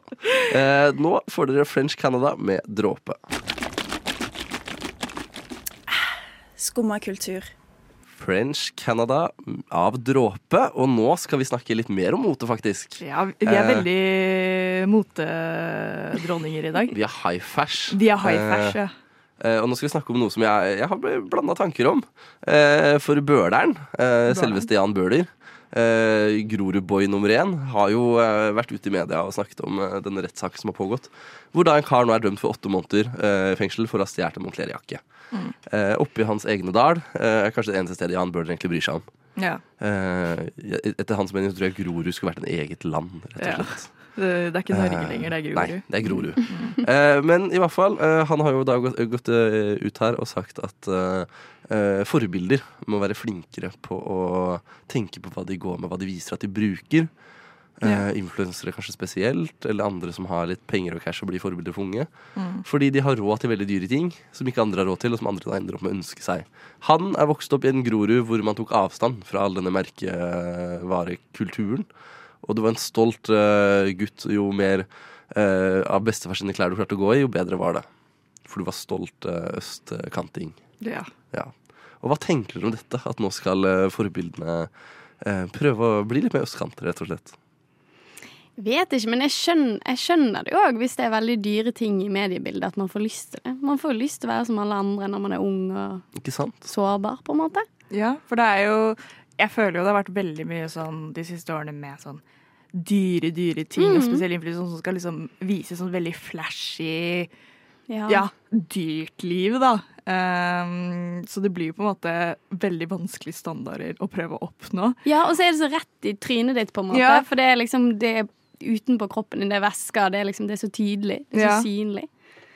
Speaker 3: Eh, nå får dere French Canada med dråpe.
Speaker 10: Skumma kultur.
Speaker 3: French Canada av dråpe. Og nå skal vi snakke litt mer om mote, faktisk.
Speaker 5: Ja, vi er
Speaker 3: eh.
Speaker 5: veldig motedronninger i dag.
Speaker 3: Vi er high fash.
Speaker 5: Vi er high fashion, ja.
Speaker 3: Eh, og nå skal vi snakke om noe som jeg, jeg har blanda tanker om. Eh, for Bøhleren, eh, selveste Jan Bøhler, eh, Grorudboy nummer én, har jo eh, vært ute i media og snakket om eh, denne rettssaken som har pågått. Hvor da en kar nå er dømt for åtte måneder eh, fengsel for å ha stjålet en Moncler-jakke.
Speaker 5: Mm.
Speaker 3: Eh, oppe i hans egne dal eh, er kanskje det eneste stedet Jan Bøhler egentlig bryr seg om.
Speaker 5: ja.
Speaker 3: Eh, etter hans mening så tror jeg Grorud skulle vært en eget land, rett og
Speaker 5: Ja.
Speaker 3: slett.
Speaker 5: Det det er ikke Norge
Speaker 3: Eh,
Speaker 5: lenger, det Mm. er
Speaker 3: Nei,
Speaker 5: Grorud.
Speaker 3: det er Grorud. Eh, men i hvert fall, eh, han har jo da gått, gått eh, ut her og sagt at eh, eh, forbilder må være flinkere på å tenke på hva de går med, hva de viser at de bruker.
Speaker 5: Ja.
Speaker 3: Eh, Influensere kanskje spesielt, eller andre som har litt penger og cash og blir forbilder for unge. Fordi de har råd til veldig dyre ting som ikke andre har råd til, og som andre da ender opp med å ønske seg. Han er vokst opp i en Grorud hvor man tok avstand fra all denne merkevarekulturen. Og du var en stolt eh, gutt. Jo mer eh, av bestefar sine klær du klarte å gå i, jo bedre var det. For du var stolt eh, østkanting.
Speaker 5: Ja.
Speaker 3: Ja. Og hva tenker dere om dette? At nå skal eh, forbildene eh, prøve å bli litt mer østkanter, rett og slett.
Speaker 6: Vet ikke, men jeg skjønner, jeg skjønner det òg hvis det er veldig dyre ting i mediebildet. At man får lyst til det. Man får jo lyst til å være som alle andre når man er ung og
Speaker 3: Ikke sant?
Speaker 6: sårbar, på en måte.
Speaker 5: Ja, for det er jo Jeg føler jo det har vært veldig mye sånn de siste årene med sånn dyre, dyre ting, og spesielt influensere som skal liksom vise sånn veldig flashy
Speaker 6: Ja.
Speaker 5: Ja, dyrt liv, da. Ehm, så det blir jo på en måte veldig vanskelige standarder å prøve å oppnå.
Speaker 6: Ja, og så er det så rett i trynet ditt, på en måte.
Speaker 5: Ja.
Speaker 6: For det er liksom det er utenpå kroppen din, det er væska, det er liksom det er så tydelig. Det er
Speaker 5: Ja.
Speaker 6: så synlig.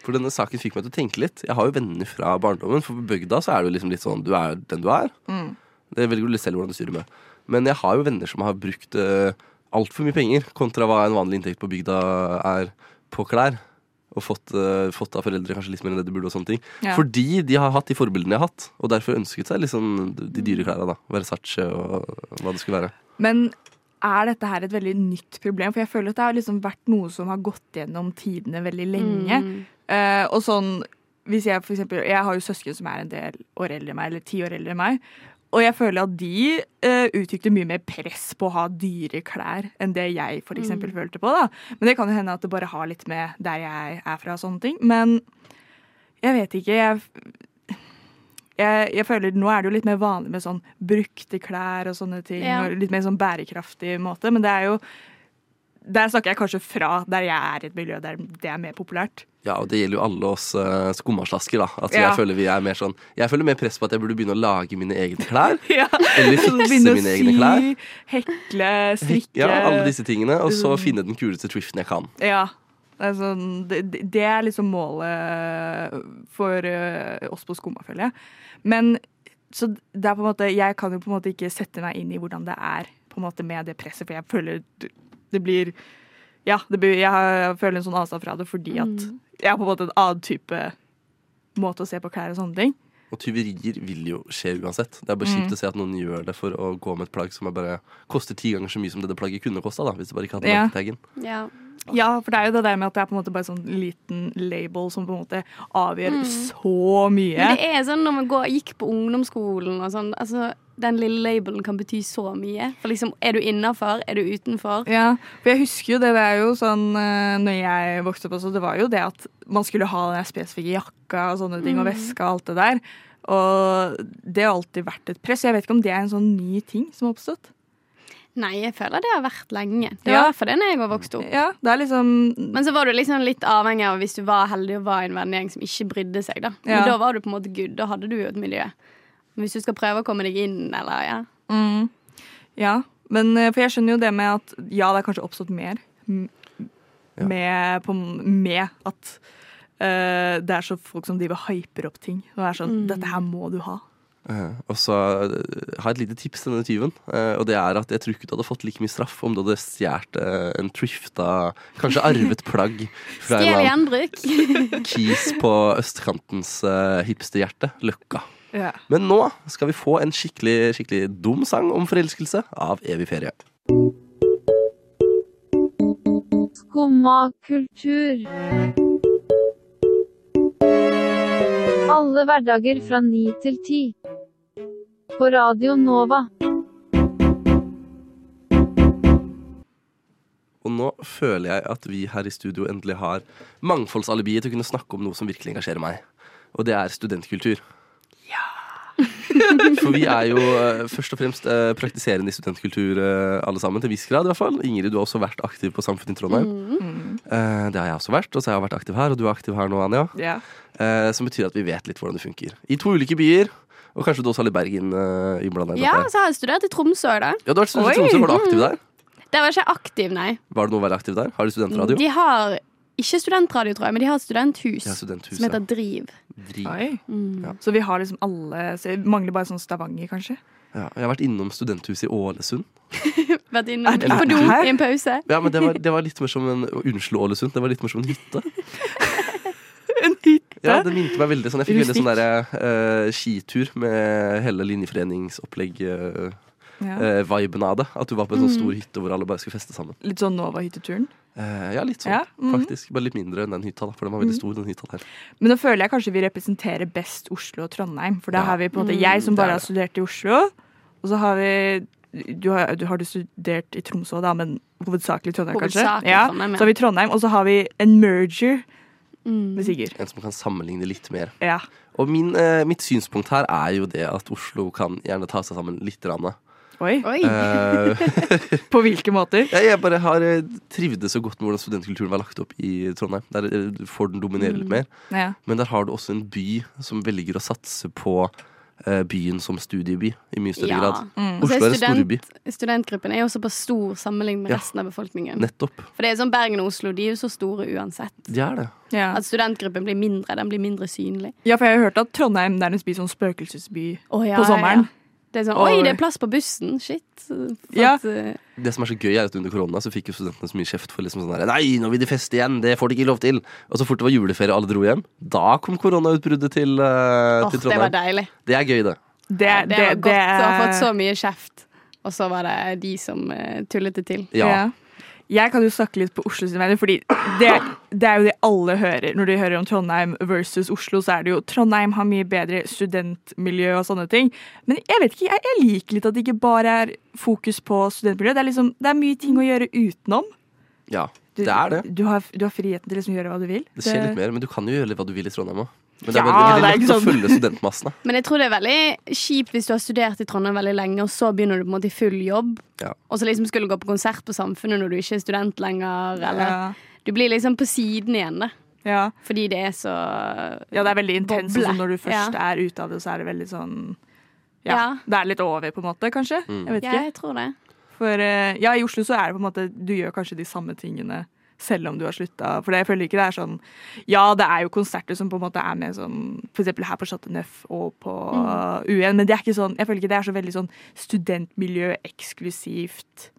Speaker 3: For denne saken fikk meg til å tenke litt. Jeg har jo venner fra barndommen. For på bygda så er det jo liksom litt sånn du er den du er.
Speaker 5: Mm.
Speaker 3: Det velger du litt selv hvordan du styrer med. Men jeg har jo venner som har brukt uh, altfor mye penger kontra hva en vanlig inntekt på bygda er på klær. Og fått, eh, fått av foreldre kanskje litt mer enn det de burde. og sånne ting
Speaker 5: Ja.
Speaker 3: Fordi de har hatt de forbildene jeg har hatt, og derfor ønsket seg liksom de dyre klærne. da Versace og hva det skulle være.
Speaker 5: Men er dette her et veldig nytt problem? For jeg føler at det har liksom vært noe som har gått gjennom tidene veldig lenge. Eh, og sånn, hvis jeg for eksempel, jeg har jo søsken som er en del år eldre enn meg, eller ti år eldre enn meg, og jeg føler at de eh, uttrykte mye mer press på å ha dyre klær enn det jeg for eksempel følte på. da. Men det kan jo hende at det bare har litt med der jeg er fra og sånne ting. Men jeg vet ikke. Jeg, jeg, jeg føler Nå er det jo litt mer vanlig med sånn brukte klær og sånne ting.
Speaker 6: Ja.
Speaker 5: Og litt mer sånn bærekraftig måte. Men det er jo Der snakker jeg kanskje fra der jeg er i et miljø der det er mer populært.
Speaker 3: Ja, og det gjelder jo alle oss uh, skummaslasker, da. At
Speaker 5: Ja.
Speaker 3: jeg føler vi er mer sånn Jeg føler mer press på at jeg burde begynne å lage mine egne klær.
Speaker 5: Ja.
Speaker 3: Eller fikse
Speaker 5: Begynne å
Speaker 3: mine egne klær.
Speaker 5: Hekle, strikke. Mm.
Speaker 3: Ja, alle disse tingene, og så finne den kuleste thriften jeg kan.
Speaker 5: Ja. Det er, sånn, det, det er liksom målet for eh, oss på Skumma, føler jeg. Men så det er på en måte Jeg kan jo på en måte ikke sette meg inn i hvordan det er på en måte med det presset, for jeg føler det- det blir Ja, det blir, jeg, har, jeg føler en sånn avstand fra det fordi at
Speaker 6: Mm.
Speaker 5: jeg har på en måte en annen type måte å se på klær og sånne ting.
Speaker 3: Og tyverier vil jo skje uansett. Det er bare
Speaker 5: Mm.
Speaker 3: kjipt å se at noen gjør det for å gå med et plagg som er bare koster ti ganger så mye som det det plagget kunne kosta, da, hvis det bare ikke hadde
Speaker 5: Ja.
Speaker 3: merketaggen.
Speaker 6: Ja.
Speaker 5: Ja, for det er jo det der med at det er på en måte bare sånn liten label som på en måte avgjør
Speaker 6: Mm.
Speaker 5: så mye.
Speaker 6: Men det er sånn når man går, gikk på ungdomsskolen og sånn, altså, den lille labelen kan bety så mye. For liksom, er du innafor? Er du utenfor?
Speaker 5: Ja, for jeg husker jo det, det er jo sånn eh, Når jeg vokste opp også, det var jo det at man skulle ha den der spesifikke jakka og sånne ting, og
Speaker 6: Mm.
Speaker 5: veska og alt det der. Og det har alltid vært et press. Jeg vet ikke om det er en sånn ny ting som har oppstått.
Speaker 6: Nei, jeg føler det har vært lenge.
Speaker 5: Ja.
Speaker 6: Det var i hvert fall det når jeg var vokst opp.
Speaker 5: Ja, det er liksom
Speaker 6: Men så var du liksom litt avhengig av hvis du var heldig og var i en vennegjeng som ikke brydde seg. da
Speaker 5: Ja.
Speaker 6: Men da var du på en måte good. Da hadde du jo et miljø. Men hvis du skal prøve å komme deg inn, eller ja.
Speaker 5: mm, Ja. Men eh, for jeg skjønner jo det med at ja, det er kanskje oppstått mer m-
Speaker 3: Ja.
Speaker 5: med, på, med at eh, det er så folk som driver og hyper opp ting. Og er sånn Dette her må du ha.
Speaker 3: Eh, og så eh, har jeg et lite tips til denne tyven. eh, og det er at jeg tror ikke du hadde fått like mye straff om du hadde stjålet eh, en trifta, kanskje arvet plagg fra en
Speaker 6: Stjel
Speaker 3: eller annen
Speaker 6: gjenbruk.
Speaker 3: kis på østkantens eh, hipsterhjerte, Løkka.
Speaker 5: Ja.
Speaker 3: Men nå skal vi få en skikkelig, skikkelig dum sang om forelskelse av Evig ferie.
Speaker 11: Skumma kultur. Alle hverdager fra ni til ti. På Radio Nova.
Speaker 3: Og nå føler jeg at vi her i studio endelig har mangfoldsalibiet til å kunne snakke om noe som virkelig engasjerer meg. Og det er studentkultur. Ja! For vi er jo eh, først og fremst eh, praktiserende i studentkultur eh, alle sammen, til en viss grad i hvert fall. Ingrid, du har også vært aktiv på Samfunnet i Trondheim. Eh, det har jeg også vært, og så har jeg vært aktiv her, og du er aktiv her nå, Anja.
Speaker 5: Ja.
Speaker 3: Eh, som betyr at vi vet litt hvordan det funker. I to ulike byer, og kanskje du også har litt Bergen uh, innblanda i
Speaker 6: Ja,
Speaker 3: dette.
Speaker 6: så har jeg studert i Tromsø òg, da.
Speaker 3: Ja, du har vært student i
Speaker 5: Oi.
Speaker 3: Tromsø, var du aktiv der?
Speaker 6: Der var jeg ikke aktiv, nei.
Speaker 3: Var det noe å være aktiv der? Har de studentradio?
Speaker 6: De har ikke studentradio, tror jeg, men de har et studenthus
Speaker 3: Ja, studenthuset.
Speaker 6: som heter Driv.
Speaker 3: Driv.
Speaker 5: Oi.
Speaker 6: Mm.
Speaker 3: Ja.
Speaker 5: Så vi har liksom alle så jeg Mangler bare sånn Stavanger, kanskje.
Speaker 3: Ja, jeg har vært innom studenthuset i Ålesund.
Speaker 6: Vært
Speaker 5: Er
Speaker 6: innom
Speaker 5: det
Speaker 6: på do
Speaker 5: her?
Speaker 6: i en pause.
Speaker 3: Ja, men det var, det var litt mer som en Unnskyld, Ålesund. Det var litt mer som en hytte.
Speaker 5: En hytte?
Speaker 3: Ja, Det minte meg veldig sånn. Jeg fikk veldig sånn
Speaker 5: Rustikk.
Speaker 3: derre eh, skitur med hele linjeforeningsopplegg-viben
Speaker 5: Ja.
Speaker 3: Eh. av det. At du var på en sånn
Speaker 6: Mm.
Speaker 3: stor hytte hvor alle bare skulle feste sammen.
Speaker 5: Litt sånn Nova-hytteturen.
Speaker 3: Eh, ja, litt sånn,
Speaker 5: Ja, mhm.
Speaker 3: faktisk. Bare litt mindre enn den hytta, da, for den var veldig stor, den hytta der.
Speaker 5: Men nå føler jeg kanskje vi representerer best Oslo og Trondheim. For da
Speaker 3: Ja.
Speaker 5: har vi på en måte
Speaker 6: Mm,
Speaker 5: jeg som
Speaker 3: det er
Speaker 5: bare har studert i Oslo, og så har vi du har, du har du studert i Tromsø, da, men hovedsakelig Trondheim,
Speaker 6: Hovedsakelig
Speaker 5: kanskje? Ja.
Speaker 6: Trondheim,
Speaker 5: Så
Speaker 6: ja.
Speaker 5: har vi Trondheim, og så har vi en merger
Speaker 6: Mm.
Speaker 5: med Sigurd.
Speaker 3: En som kan sammenligne litt mer.
Speaker 5: Ja.
Speaker 3: Og min, eh, mitt synspunkt her er jo det at Oslo kan gjerne ta seg sammen litt. Rann,
Speaker 5: Oi.
Speaker 6: Oi.
Speaker 3: Eh,
Speaker 5: På hvilke måter?
Speaker 3: Jeg, jeg bare har eh, trivdes så godt med hvordan studentkulturen var lagt opp i Trondheim. Der eh, får den dominere
Speaker 6: Mm.
Speaker 3: litt mer.
Speaker 5: Ja.
Speaker 3: Men der har du også en by som velger å satse på eh, byen som studieby i mye større
Speaker 6: Ja.
Speaker 3: grad.
Speaker 5: Mm.
Speaker 6: Og så
Speaker 3: Oslo er en storby.
Speaker 6: Studentgruppen er jo såpass stor sammenlignet med
Speaker 3: Ja.
Speaker 6: resten av befolkningen.
Speaker 3: Nettopp.
Speaker 6: For det er sånn Bergen og Oslo de er jo så store uansett.
Speaker 3: De er det.
Speaker 5: Ja.
Speaker 6: At studentgruppen blir mindre, den blir mindre synlig.
Speaker 5: ja, for jeg har hørt at Trondheim nærmest blir sånn spøkelsesby.
Speaker 6: Å, ja,
Speaker 5: På
Speaker 6: ja,
Speaker 5: sommeren.
Speaker 6: ja. Det er sånn,
Speaker 5: Og-
Speaker 6: Oi, det er plass på bussen! Shit. For
Speaker 5: Ja.
Speaker 6: at, eh,
Speaker 3: Det som er så gøy, er at under korona så fikk jo studentene så mye kjeft for liksom sånn her Nei, nå vil de feste igjen! Det får de ikke lov til! Og så fort det var juleferie og alle dro hjem, da kom koronautbruddet til, eh,
Speaker 6: åh,
Speaker 3: til
Speaker 6: det var
Speaker 3: Trondheim.
Speaker 6: deilig.
Speaker 3: Det, er gøy, det.
Speaker 5: Det,
Speaker 6: Det, var godt å ha fått så
Speaker 5: er-
Speaker 6: mye kjeft, og så var det de som eh, tullet det til.
Speaker 3: Ja.
Speaker 5: Jeg kan jo snakke litt på Oslo sine vegne, fordi det, det er jo det alle hører når de hører om Trondheim versus Oslo, så er det jo Trondheim har mye bedre studentmiljø og sånne ting. Men jeg vet ikke, jeg, jeg liker litt at det ikke bare er fokus på studentmiljø. Det er liksom, det er mye ting å gjøre utenom.
Speaker 3: ja.
Speaker 5: Du,
Speaker 3: Det er det.
Speaker 5: Du har, du har friheten til liksom å gjøre hva du vil.
Speaker 3: Det skjer litt mer, men du kan jo gjøre litt hva du vil i Trondheim òg. Men det
Speaker 5: Ja,
Speaker 3: er veldig, veldig
Speaker 5: det er
Speaker 3: lett
Speaker 5: ikke
Speaker 3: å
Speaker 5: sånn.
Speaker 3: følge studentmassene.
Speaker 6: Men jeg tror det er veldig kjipt hvis du har studert i Trondheim veldig lenge, og så begynner du på en måte i full jobb,
Speaker 3: Ja.
Speaker 6: og så liksom skulle gå på konsert på Samfunnet når du ikke er student lenger, eller
Speaker 5: Ja.
Speaker 6: Du blir liksom på siden igjen, da.
Speaker 5: Ja.
Speaker 6: Fordi det er så
Speaker 5: ja, det er veldig intenst. og
Speaker 6: Boble.
Speaker 5: sånn når du først er ute av det, så er det veldig sånn ja,
Speaker 6: Ja.
Speaker 5: Det er litt over, på en måte, kanskje.
Speaker 3: Mm.
Speaker 5: Jeg vet
Speaker 6: Ja,
Speaker 5: ikke.
Speaker 6: jeg tror det.
Speaker 5: For eh, ja, i Oslo så er det på en måte Du gjør kanskje de samme tingene selv om du har slutta. For det, jeg føler ikke det er sånn Ja, det er jo konserter som på en måte er med sånn For eksempel her på Chateau Neuf og på uh, UN, men det er ikke sånn Jeg føler ikke det er så veldig sånn studentmiljø-eksklusivt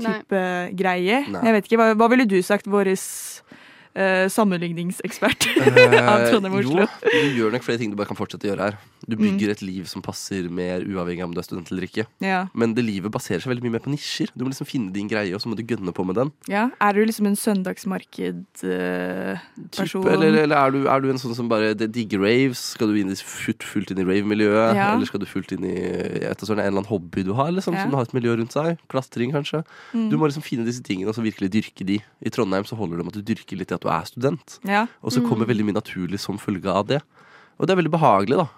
Speaker 5: type greie.
Speaker 3: Nei.
Speaker 5: Jeg vet ikke, hva, hva ville du sagt, våres eh, sammenligningsekspert av Trondheim og Oslo?
Speaker 3: Eh,
Speaker 5: Mm.
Speaker 3: Jo, du gjør nok flere ting du bare kan fortsette å gjøre her. Du bygger et liv som passer mer uavhengig av om du er student eller ikke.
Speaker 5: Ja.
Speaker 3: Men det livet baserer seg veldig mye mer på nisjer. Du må liksom finne din greie, og så må du gønne på med den.
Speaker 5: Ja, Er du liksom en søndagsmarked-person?
Speaker 3: Eller, eller er, du, er du en sånn som bare det digger raves? Skal du inn i, fullt, fullt inn i rave-miljøet?
Speaker 5: Ja.
Speaker 3: Eller skal du fullt inn i jeg vet, ikke, sånn, en eller annen hobby du har? Liksom,
Speaker 5: Ja.
Speaker 3: Som du har et miljø rundt seg? Klastring, kanskje?
Speaker 5: Mm.
Speaker 3: Du må liksom finne disse tingene og så virkelig dyrke de. I Trondheim så holder det med at du dyrker litt i at du er student.
Speaker 5: Ja.
Speaker 3: Og så kommer
Speaker 5: Mm.
Speaker 3: veldig mye naturlig som følge av det. Og det er veldig behagelig, da.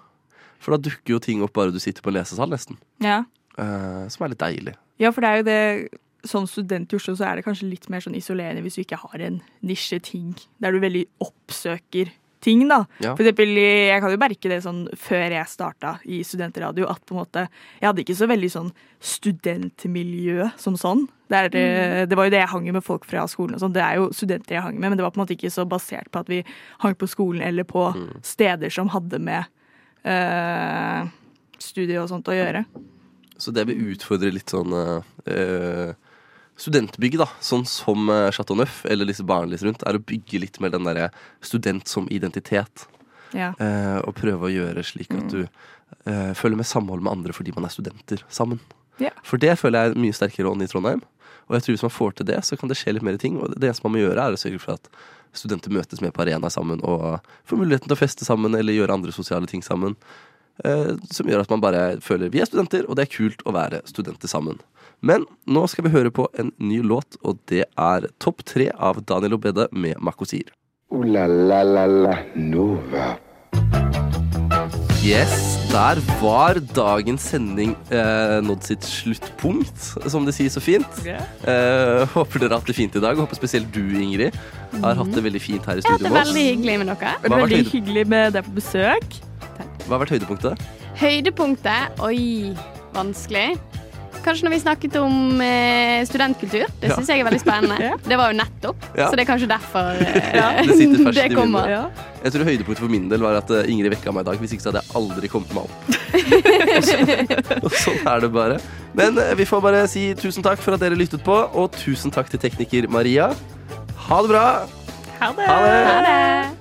Speaker 3: For da dukker jo ting opp bare du sitter på en lesesal, nesten.
Speaker 5: ja.
Speaker 3: Eh, som er litt deilig.
Speaker 5: ja, for det er jo det Som student i Oslo så er det kanskje litt mer sånn isolerende hvis du ikke har en nisjeting. Der du veldig oppsøker ting, da.
Speaker 12: Ja.
Speaker 5: For eksempel, jeg kan jo merke det sånn før jeg starta i studentradio, at på en måte Jeg hadde ikke så veldig sånn studentmiljø som sånn. Det, er, eh, det var jo det jeg hang med folk fra skolen og sånn. Det er jo studenter jeg hang med, men det var på en måte ikke så basert på at vi hang på skolen eller på steder som hadde med eh, studier og sånt å gjøre.
Speaker 3: Så det vil utfordre litt sånn eh, eh, studentbygg, da. Sånn som eh, Chateau Neuf eller disse barene litt rundt. Er å bygge litt mer den derre student som identitet.
Speaker 5: Ja.
Speaker 3: Eh, og prøve å gjøre slik at du eh, føler med samhold med andre fordi man er studenter sammen.
Speaker 5: Ja.
Speaker 3: For det føler jeg er mye sterkere ånd i Trondheim. Og jeg tror hvis man får til det, så kan det skje litt mer ting. Og det eneste man må gjøre, er å sørge for at studenter møtes mer på arena sammen og får muligheten til å feste sammen eller gjøre andre sosiale ting sammen. Eh, som gjør at man bare føler vi er studenter, og det er kult å være studenter sammen. Men nå skal vi høre på en ny låt, og det er Topp tre av Daniel Obede med Makosir.
Speaker 2: Ooh la la la la Nova.
Speaker 3: Yes, der var dagens sending eh, nådd sitt sluttpunkt, som det sies så fint.
Speaker 5: Ja.
Speaker 3: Eh, håper dere har hatt det fint i dag. Håper spesielt du, Ingrid, har hatt det veldig fint her i
Speaker 6: Jeg har hatt
Speaker 3: studio
Speaker 6: det
Speaker 3: med oss.
Speaker 6: veldig hyggelig med dere.
Speaker 3: Hva har vært
Speaker 5: Veldig
Speaker 3: høyde-
Speaker 5: hyggelig med deg på besøk.
Speaker 3: Hva har vært høydepunktet?
Speaker 6: Høydepunktet Oi, vanskelig. Kanskje når vi snakket om eh, studentkultur. Det
Speaker 3: Ja.
Speaker 6: syns jeg er veldig spennende. Det var jo nettopp,
Speaker 3: Ja.
Speaker 6: så det er kanskje derfor eh,
Speaker 3: Det sitter ferskt i
Speaker 6: det kommer.
Speaker 3: minnet. Jeg tror høydepunktet for min del var at eh, Ingrid vekka meg i dag. Hvis ikke så hadde jeg aldri kommet meg opp. Og sånn er det bare. Men eh, vi får bare si tusen takk for at dere lyttet på, og tusen takk til tekniker Maria. Ha det bra.
Speaker 5: Ha det.
Speaker 3: Ha det.
Speaker 6: Ha det.